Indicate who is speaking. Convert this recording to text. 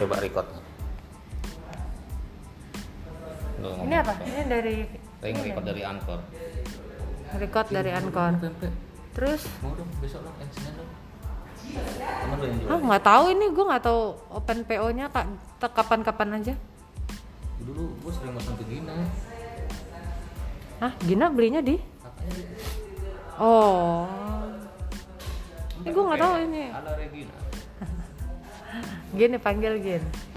Speaker 1: coba record Loh, ngomong
Speaker 2: Ini apa?
Speaker 1: apa?
Speaker 2: Ini dari
Speaker 1: Saya nge-record dari Anchor
Speaker 2: record dari Anchor. Terus
Speaker 1: Mau dong, besok dong, action dong Temen lu yang
Speaker 2: ah
Speaker 1: jual
Speaker 2: nggak tahu ini gue nggak tahu open PO-nya kak te- kapan-kapan aja.
Speaker 1: Dulu gue sering ya. pesan ke Gina
Speaker 2: Hah, Gina belinya di?
Speaker 1: Katanya dia-
Speaker 2: Oh. Ini gue Eh, nggak tahu ini.
Speaker 1: Ala Eh, Regina
Speaker 2: Gini panggil Gin.